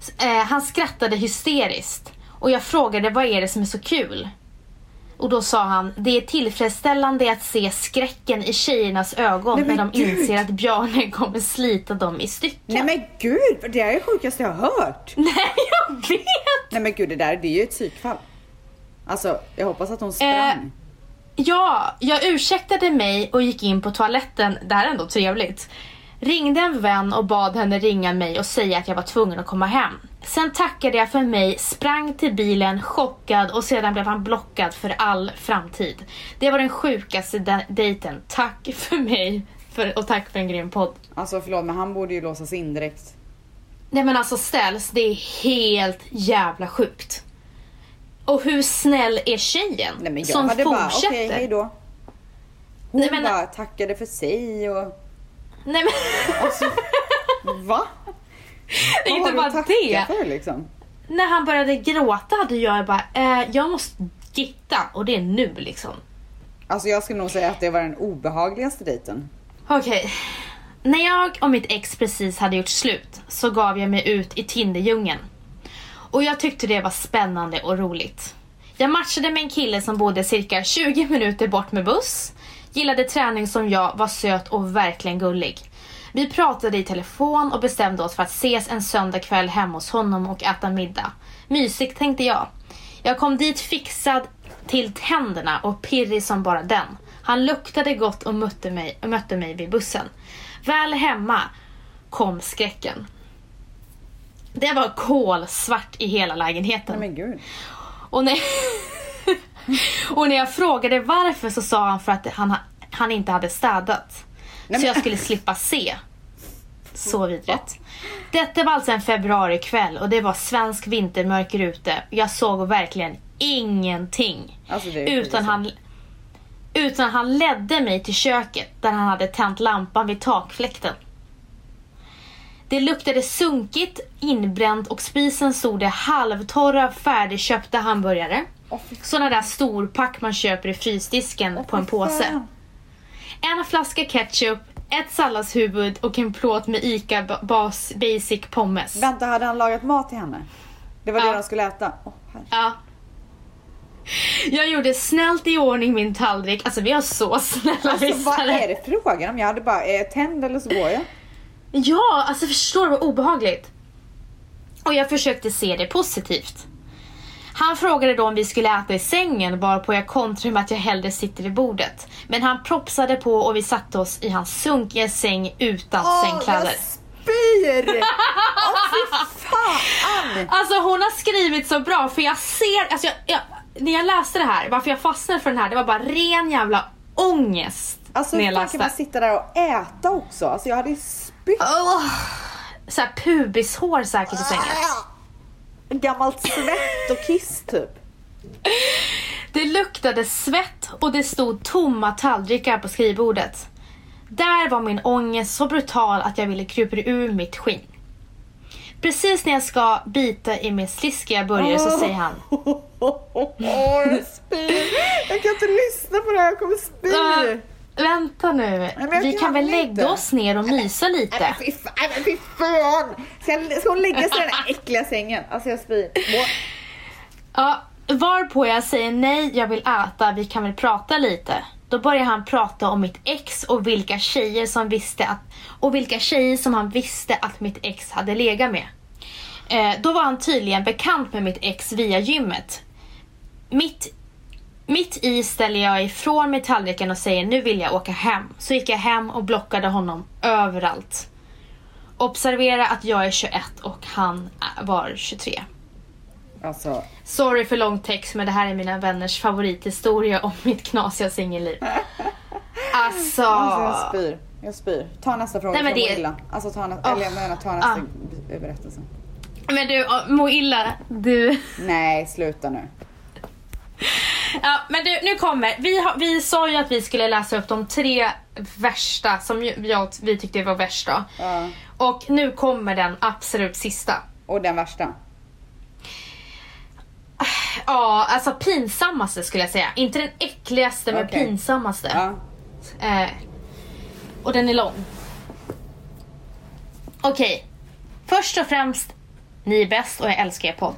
A: S- Eh, han skrattade hysteriskt och jag frågade vad är det som är så kul? Och då sa han, det är tillfredsställande att se skräcken i tjejernas ögon
B: Nej, men
A: när de
B: Gud.
A: inser att björnen kommer slita dem i stycken.
B: Nej men gud, det här är det sjukaste jag har hört.
A: [LAUGHS] Nej, jag vet!
B: Nej men gud, det där det är ju ett psykfall. Alltså, jag hoppas att hon
A: Eh.
B: sprang.
A: Ja, jag ursäktade mig och gick in på toaletten. Det här är ändå trevligt. Ringde en vän och bad henne ringa mig och säga att jag var tvungen att komma hem. Sen tackade jag för mig, sprang till bilen chockad och sedan blev han blockad för all framtid. Det var den sjukaste de- dejten. Tack för mig för, och tack för en grym podd.
B: Alltså förlåt, men han borde ju låsas in direkt.
A: Nej men alltså ställs, det är helt jävla sjukt. Och hur snäll är tjejen
B: Nej men jag
A: som
B: hade bara, okej
A: fortsätter?
B: hejdå. Hon
A: Nej, men-
B: bara tackade för sig och...
A: Nej men... [LAUGHS]
B: Alltså, va?
A: Det är
B: Vad
A: inte
B: har du
A: bara
B: att
A: det.
B: tacka för liksom?
A: När han började gråta hade jag bara, eh, jag måste gitta och det är nu liksom.
B: Alltså jag skulle nog säga att det var den obehagligaste dejten.
A: Okej. När jag och mitt ex precis hade gjort slut så gav jag mig ut i Tinderdjungeln. Och jag tyckte det var spännande och roligt. Jag matchade med en kille som bodde cirka 20 minuter bort med buss, gillade träning som jag, var söt och verkligen gullig. Vi pratade i telefon och bestämde oss för att ses en söndagkväll hemma hos honom och äta middag. Mysigt tänkte jag. Jag kom dit fixad till tänderna och pirrig som bara den. Han luktade gott och mötte mig, mötte mig vid bussen. Väl hemma kom skräcken. Det var kolsvart i hela lägenheten.
B: Nej men gud.
A: Och när, [LAUGHS] och när jag frågade varför så sa han för att han, ha- han inte hade städat.
B: men-
A: Så jag skulle slippa se. Så vidrigt. Detta var alltså en februarikväll och det var svensk vintermörker ute. Jag såg verkligen ingenting.
B: Alltså, det är ju
A: utan, han, utan han ledde mig till köket där han hade tänt lampan vid takfläkten. Det luktade sunkigt, inbränt och spisen stod det halvtorra färdigköpta hamburgare.
B: Åh, fy
A: Såna där storpack man köper i frysdisken på en påse.
B: fan.
A: En flaska ketchup, ett salladshuvud och en plåt med ICA ba- bas, basic pommes.
B: Vänta, hade han lagat mat till henne? Det var
A: Ja.
B: det de skulle äta. Åh, herre.
A: Ja. Jag gjorde snällt i ordning min tallrik. Alltså vi har så snälla
B: alltså, vad
A: lyssnare.
B: är det frågan om? Jag hade bara eh, tänd eller så går jag.
A: Ja, alltså förstår du vad obehagligt? Och jag försökte se det positivt. Han frågade då om vi skulle äta i sängen varpå jag kontrade med att jag hellre sitter vid bordet. Men han propsade på och vi satte oss i hans sunkiga säng utan
B: jag
A: sängkläder.
B: spyr! Åh fy fan!
A: Alltså hon har skrivit så bra för jag ser, alltså jag, jag, när jag läste det här, varför jag fastnade för den här, det var bara ren jävla ångest.
B: Alltså
A: när
B: hur
A: jag
B: fan kan man sitta där och äta också? Alltså jag hade ju spytt.
A: Åh, så här pubishår säkert i sängen.
B: Gammalt svett och kiss typ.
A: Det luktade svett och det stod tomma tallrikar på skrivbordet. Där var min ångest så brutal att jag ville krypa ur mitt skinn. Precis när jag ska bita i min sliskiga burgare så säger han
B: Åh, jag spyr. Jag kan inte lyssna på det här, jag kommer spy.
A: "Äh, Vänta nu,
B: men jag
A: vi
B: kan
A: kan väl
B: inte."
A: lägga oss ner och mysa
B: Nej
A: lite?
B: men fy fan, nej, men fy fan! Ska, jag, ska hon lägga sig i den här äckliga sängen? Alltså jag spyr. Må-
A: Ja, varpå jag säger nej, jag vill äta, vi kan väl prata lite. Då börjar han prata om mitt ex och vilka tjejer som visste att, och vilka tjejer som han visste att mitt ex hade legat med. Eh, då var han tydligen bekant med mitt ex via gymmet. Mitt, mitt i ställer jag ifrån mig tallriken och säger nu vill jag åka hem. Så gick jag hem och blockade honom överallt. Observera att jag är 21 och han var 23.
B: Alltså,
A: Sorry för lång text men det här är mina vänners favorithistoria om mitt knasiga singelliv. Alltså...
B: alltså jag spyr. Jag spyr. Ta nästa fråga,
A: Nej, men
B: för jag mår
A: det-
B: illa. Alltså ta nästa,
A: Åh.
B: eller jag menar ta nästa
A: Ah.
B: b- berättelse.
A: men du, ja, må illa. Du.
B: Nej, sluta nu.
A: Ja, men du, nu kommer. Vi, har, vi sa ju att vi skulle läsa upp de tre värsta som ju- jag, vi tyckte var värst då.
B: Ja.
A: Och nu kommer den absolut sista.
B: Och den värsta.
A: Ja, alltså pinsammaste skulle jag säga. Inte den äckligaste men
B: Okej.
A: pinsammaste.
B: Ja.
A: Eh, och den är lång. Okej. Först och främst, ni är bäst och jag älskar er podd.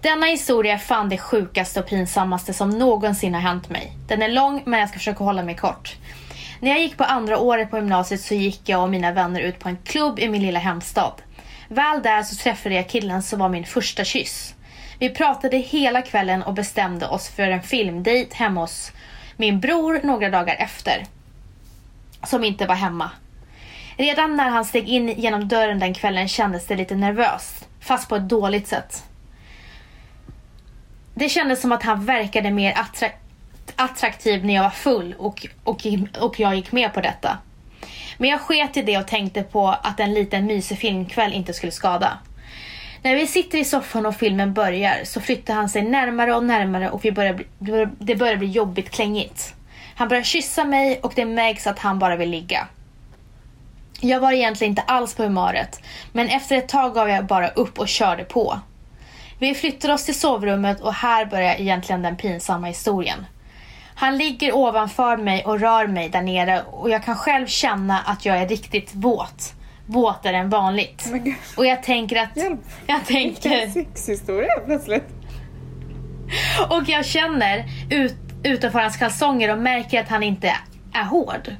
A: Denna historia är fan det sjukaste och pinsammaste som någonsin har hänt mig. Den är lång men jag ska försöka hålla mig kort. När jag gick på andra året på gymnasiet så gick jag och mina vänner ut på en klubb i min lilla hemstad. Väl där så träffade jag killen som var min första kyss. Vi pratade hela kvällen och bestämde oss för en filmdejt hemma hos min bror några dagar efter. Som inte var hemma. Redan när han steg in genom dörren den kvällen kändes det lite nervöst. Fast på ett dåligt sätt. Det kändes som att han verkade mer attra- attraktiv när jag var full och, och, och jag gick med på detta. Men jag sket i det och tänkte på att en liten mysig filmkväll inte skulle skada. När vi sitter i soffan och filmen börjar så flyttar han sig närmare och närmare och vi börjar bli, det börjar bli jobbigt klängigt. Han börjar kyssa mig och det märks att han bara vill ligga. Jag var egentligen inte alls på humöret men efter ett tag gav jag bara upp och körde på. Vi flyttar oss till sovrummet och här börjar egentligen den pinsamma historien. Han ligger ovanför mig och rör mig där nere och jag kan själv känna att jag är riktigt våt. Våtare än vanligt.
B: Men gud.
A: Och jag tänker att...
B: Hjälp.
A: [LAUGHS] Jag
B: Vilken
A: tänker...
B: sexhistoria plötsligt.
A: Och jag känner ut, utanför hans kalsonger och märker att han inte är hård.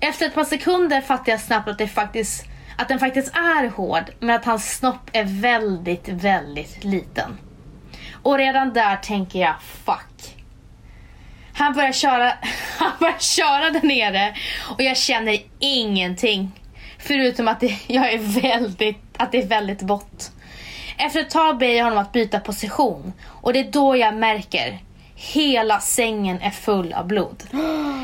A: Efter ett par sekunder fattar jag snabbt att, det faktiskt, att den faktiskt är hård, men att hans snopp är väldigt, väldigt liten. Och redan där tänker jag, fuck. Han börjar köra, [LAUGHS] han börjar köra där nere och jag känner ingenting. Förutom att det, jag är väldigt, att det är väldigt vått. Efter ett tag ber jag honom att byta position och det är då jag märker Hela sängen är full av blod.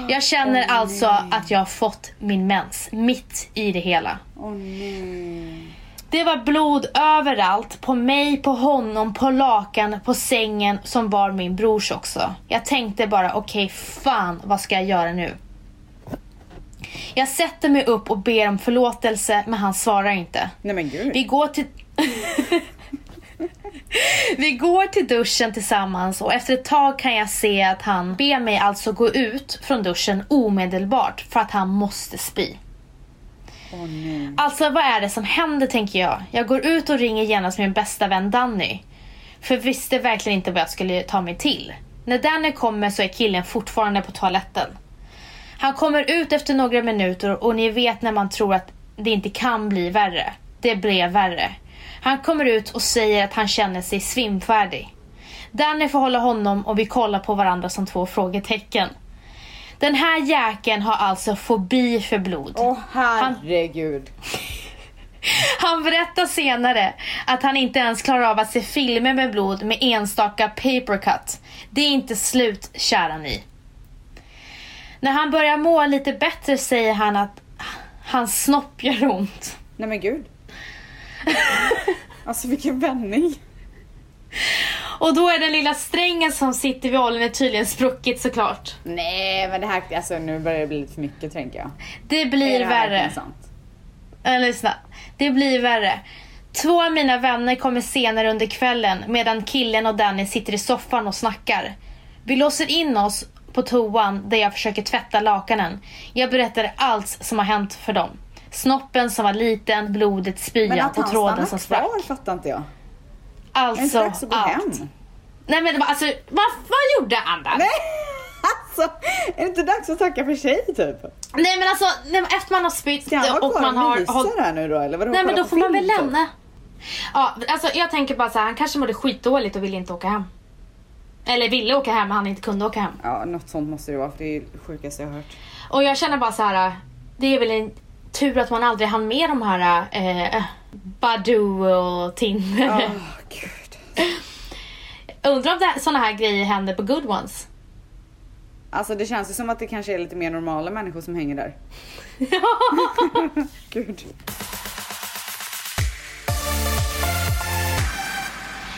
A: Jag känner alltså att jag har fått min mens mitt i det hela.
B: Åh nej.
A: Det var blod överallt, på mig, på honom, på lakan, på sängen som var min brors också. Jag tänkte bara okej, fan vad ska jag göra nu? Jag sätter mig upp och ber om förlåtelse men han svarar inte.
B: Nej men gud.
A: Vi går till... [LAUGHS] Vi går till duschen tillsammans och efter ett tag kan jag se att han ber mig alltså gå ut från duschen omedelbart för att han måste spy.
B: Åh nej.
A: Alltså vad är det som händer tänker jag. Jag går ut och ringer genast min bästa vän Danny. För visste verkligen inte vad jag skulle ta mig till. När Danny kommer så är killen fortfarande på toaletten. Han kommer ut efter några minuter och ni vet när man tror att det inte kan bli värre. Det blev värre. Han kommer ut och säger att han känner sig svimfärdig. Danny får hålla honom och vi kollar på varandra som två frågetecken. Den här jäkeln har alltså fobi för blod.
B: Åh herregud.
A: Han berättar senare att han inte ens klarar av att se filmer med blod med enstaka papercut. Det är inte slut, kära ni. När han börjar må lite bättre säger han att hans snopp gör ont.
B: Nej men gud. Alltså vilken vändning.
A: Och då är den lilla strängen som sitter vid ålen är tydligen spruckit såklart.
B: Nej men det här, alltså nu börjar det bli lite för mycket tänker jag.
A: Det blir
B: det
A: värre.
B: här verkligen sant?
A: Äh, lyssna. Det blir värre. Två av mina vänner kommer senare under kvällen medan killen och Danny sitter i soffan och snackar. Vi låser in oss på toan där jag försöker tvätta lakanen. Jag berättar allt som har hänt för dem. Snoppen som var liten, blodet,
B: Men
A: spyan
B: att
A: och
B: han
A: tråden
B: stannar
A: som
B: kvar
A: sprack.
B: fattar inte jag. Är det inte
A: Alltså
B: dags att gå hem?
A: allt. Nej men det var- alltså, vad, vad gjorde han där?
B: Nej! [LAUGHS] Alltså, är det inte dags att tacka för sig typ?
A: Nej men alltså, nej, men efter man har spytt
B: Ska han vara
A: och
B: kvar
A: man
B: och
A: har
B: mysa
A: hållit
B: där nu då eller vadå?
A: Nej men
B: Kolla
A: då
B: på
A: får man
B: film,
A: väl
B: typ?
A: lämna. Ja, alltså jag tänker bara så här, han kanske mådde skitdåligt och ville inte åka hem. Eller ville åka hem men han inte kunde åka hem.
B: Ja något sånt måste det vara för det är det sjukaste jag har hört.
A: Och jag känner bara så här, det är väl en tur att man aldrig hann med de här eh, Badoo och Tinder.
B: Åh gud.
A: [LAUGHS] Undrar om det- såna här grejer händer på good ones. [LAUGHS]
B: Alltså det känns ju som att det kanske är lite mer normala människor som hänger där. [LAUGHS] Gud.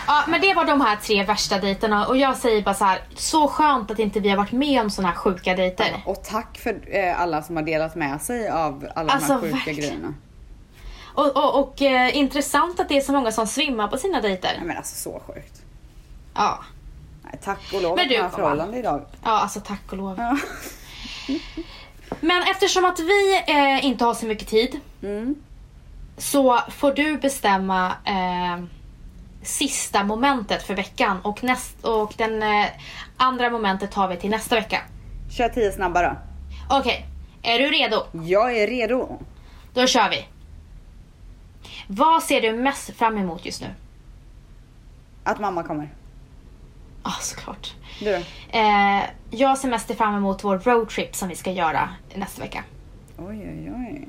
A: Ja, men det var de här tre värsta dejterna och jag säger bara så här, så skönt att inte vi har varit med om såna här sjuka dejter.
B: Och tack för eh, alla som har delat med sig av alla
A: Alltså,
B: de här sjuka
A: verkligen.
B: grejerna.
A: Och, och, och eh, intressant att det är så många som svimmar på sina dejter.
B: Nej men alltså så sjukt.
A: Ja,
B: Nej, tack och lov
A: Men
B: att
A: du,
B: man
A: gumman.
B: har förhållande idag.
A: ja alltså tack och lov.
B: Ja.
A: Men eftersom att vi eh, inte har så mycket tid
B: Mm.
A: så får du bestämma eh, sista momentet för veckan och, näst, och den eh, andra momentet tar vi till nästa vecka.
B: Kör tio snabba då.
A: Okej, är du redo?
B: Jag är redo.
A: Då kör vi. Vad ser du mest fram emot just nu?
B: Att mamma kommer.
A: Ja, såklart.
B: Du då?
A: Eh, jag ser mest fram emot vår roadtrip som vi ska göra nästa vecka.
B: Oj oj oj.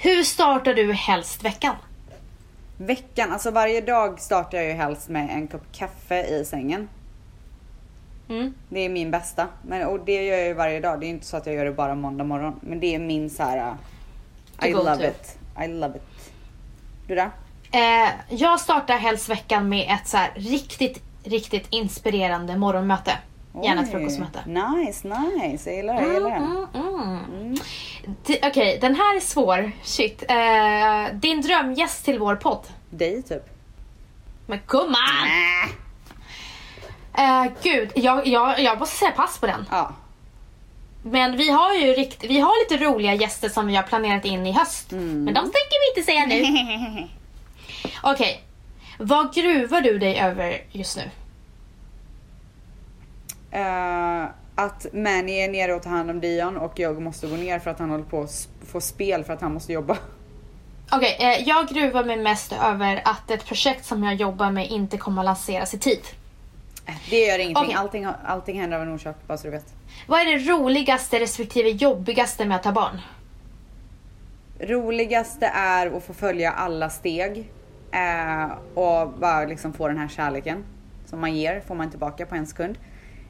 A: Hur startar du helst veckan?
B: Veckan, alltså varje dag startar jag ju helst med en kopp kaffe i sängen.
A: Mm.
B: Det är min bästa. Men, och det gör jag ju varje dag. Det är inte så att jag gör det bara måndag morgon. Men det är min så här.
A: To
B: Uh, I
A: go
B: love
A: to.
B: it. I love it. Du då?
A: Eh, jag startar helst veckan med ett så här riktigt, riktigt inspirerande morgonmöte. Gärna ett
B: Oj.
A: frukostmöte.
B: Nice, nice. Jag gillar det. Jag gillar det.
A: Mm, mm. Ti- Okej, den här är svår. Shit. Eh, din drömgäst till vår podd.
B: Dig typ.
A: Men gumman! Eh, gud, jag, jag, jag måste säga pass på den.
B: Ja.
A: Men vi har ju rikt, vi har lite roliga gäster som vi har planerat in i höst.
B: Mm.
A: Men de tänker vi inte säga nu.
B: [LAUGHS]
A: Okej. Vad gruvar du dig över just nu?
B: Eh, att Manny är nere och tar hand om Dion och jag måste gå ner för att han håller på att s- få spel för att han måste jobba.
A: Äh. Okej, eh, jag gruvar mig mest över att ett projekt som jag jobbar med inte kommer att lanseras i tid.
B: Det gör ingenting.
A: Okej.
B: Allting, har- allting händer av en orsak, bara så du vet.
A: Vad är det roligaste respektive jobbigaste med att ha barn?
B: Roligaste är att få följa alla steg eh, och bara liksom få den här kärleken som man ger, får man tillbaka på en sekund.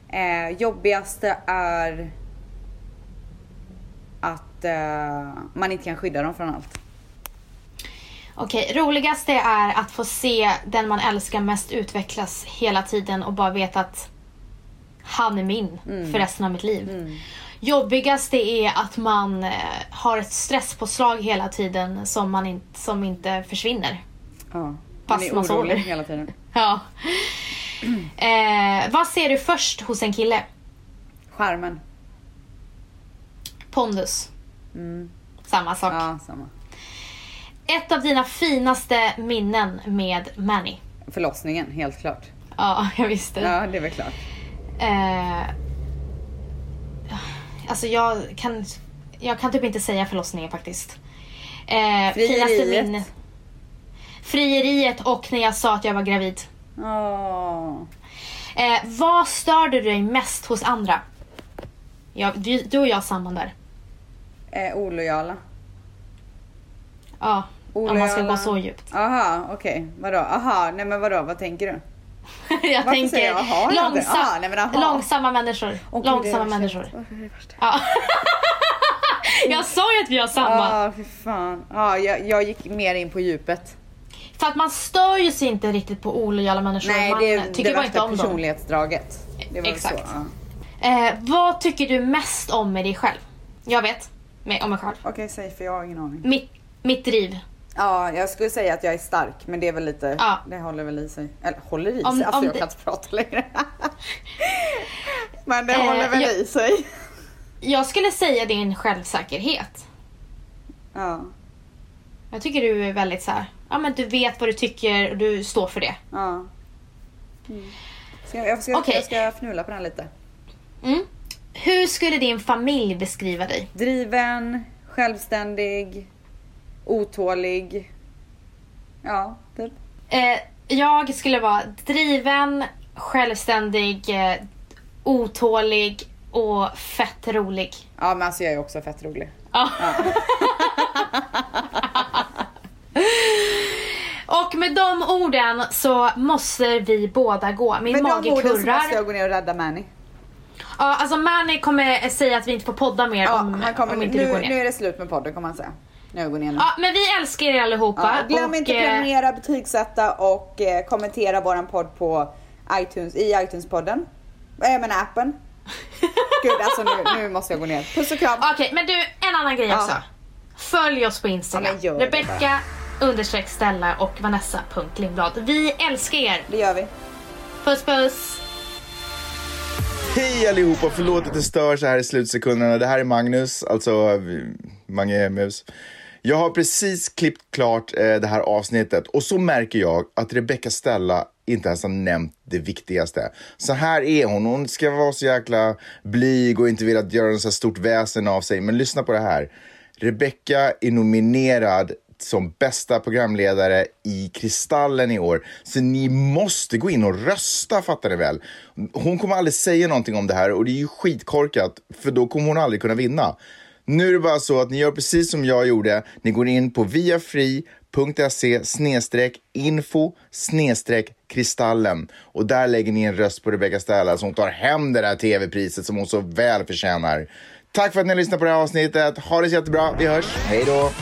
B: Eh, jobbigaste är att eh, man inte kan skydda dem från allt.
A: Okej, roligaste är att få se den man älskar mest utvecklas hela tiden och bara veta att han är min för resten av mitt liv. Jobbigaste är att man eh, har ett stresspåslag hela tiden som, man in, som inte försvinner.
B: Ja.
A: Fast
B: är
A: man sover.
B: orolig hela tiden.
A: Ja. [CLEARS THROAT] Eh, vad ser du först hos en kille?
B: Skärmen.
A: Pondus. Samma sak.
B: Mm. Ja, samma.
A: Ett av dina finaste minnen med Manny.
B: Förlossningen, helt klart.
A: Ja, [LAUGHS] jag visste.
B: Ja, det är väl klart.
A: Eh, alltså jag kan, jag kan typ inte säga förlossningen faktiskt. Eh,
B: Frieriet.
A: finaste minne- Frieriet och när jag sa att jag var gravid.
B: Åh.
A: Eh, vad störde du dig mest hos andra? Ja, du, du och jag har samman där.
B: Eh, olojala.
A: Ja, om man ska
B: Olojala.
A: gå så djupt.
B: Aha, okej. Vadå? Aha, nej men vadå? Vad tänker du?
A: jag
B: Varför
A: tänker
B: säger jag aha? Jag
A: långsam,
B: tänkte, ah, nej, men aha.
A: långsamma människor.
B: Åh, gud, det är
A: långsamma
B: det värsta jag
A: människor.
B: vet. Åh, det är det värsta.
A: Ja. jag sa ju att vi har samma.
B: Ja, ah, fy fan. Ah, jag, jag gick mer in på djupet.
A: För att man stör ju sig inte riktigt på olojala människor.
B: Nej,
A: man
B: det är
A: tycker
B: det
A: bara inte
B: värsta
A: om dem.
B: personlighetsdraget. Det var väl
A: Exakt.
B: Så, ja.
A: Eh, vad tycker du mest om med dig själv? Jag vet. Med, om mig själv.
B: Okej, säg för jag har ingen aning. Ja,
A: Mitt, mitt driv.
B: jag skulle säga att jag är stark, men det är väl lite,
A: Ja.
B: det håller väl i sig. Eller håller i sig?
A: Om-
B: alltså
A: om
B: jag
A: det-
B: kan inte prata längre. [LAUGHS] men det
A: Eh,
B: håller väl
A: jag-
B: i sig.
A: Jag skulle säga din självsäkerhet.
B: Ja,
A: Jag tycker du är väldigt så här. Ja men du vet vad du tycker och du står för det.
B: ja. Mm. Ska, jag, ska,
A: Okej.
B: jag ska fnula på den här lite.
A: Mm. Hur skulle din familj beskriva dig?
B: Driven, självständig, otålig. Ja, typ.
A: Eh, jag skulle vara driven, självständig, eh, otålig och fett rolig.
B: Ja men alltså jag är också fett rolig.
A: Ja. Och med de orden så måste vi båda gå. Min
B: Med de
A: mage
B: orden så
A: kurrar.
B: måste jag gå ner och rädda Manny.
A: Ja, alltså Mani kommer säga att vi inte får podda mer
B: Ja,
A: om,
B: han kommer,
A: om
B: nu,
A: inte du går ner.
B: nu är det slut med podden kommer han säga. Nu går jag ner nu.
A: Ja, men vi älskar er allihopa.
B: Ja, glöm
A: och,
B: inte
A: eh,
B: prenumerera, betygsätta och eh, kommentera våran podd på iTunes, i iTunes-podden. Eh, Jag
A: [LAUGHS]
B: menar appen. Gud alltså nu, nu måste jag gå ner. Puss och kram.
A: Okej, men du, en annan grej
B: Ja.
A: också. Följ oss på
B: Ja,
A: Instagram.
B: men gör det
A: Rebecca understreck Stella och Vanessa.lindblad. Vi älskar er.
B: Det gör vi.
A: Puss puss!
D: Hej allihopa! Förlåt att det stör så här i slutsekunderna. Det här är Magnus, alltså eh, Mange Mus. Jag har precis klippt klart eh, det här avsnittet och så märker jag att Rebecca Stella inte ens har nämnt det viktigaste. Så här är hon. Hon ska vara så jäkla blyg och inte vilja göra något så här stort väsen av sig. Men lyssna på det här. Rebecca är nominerad som bästa programledare i Kristallen i år. Så ni måste gå in och rösta, fattar ni väl? Hon kommer aldrig säga någonting om det här och det är ju skitkorkat, för då kommer hon aldrig kunna vinna. Nu är det bara så att ni gör precis som jag gjorde. Ni går in på viafri.se info kristallen och där lägger ni en röst på Rebecca Stella så hon tar hem det där tv-priset som hon så väl förtjänar. Tack för att ni lyssnade på det här avsnittet. Ha det så jättebra. Vi hörs. Hej då.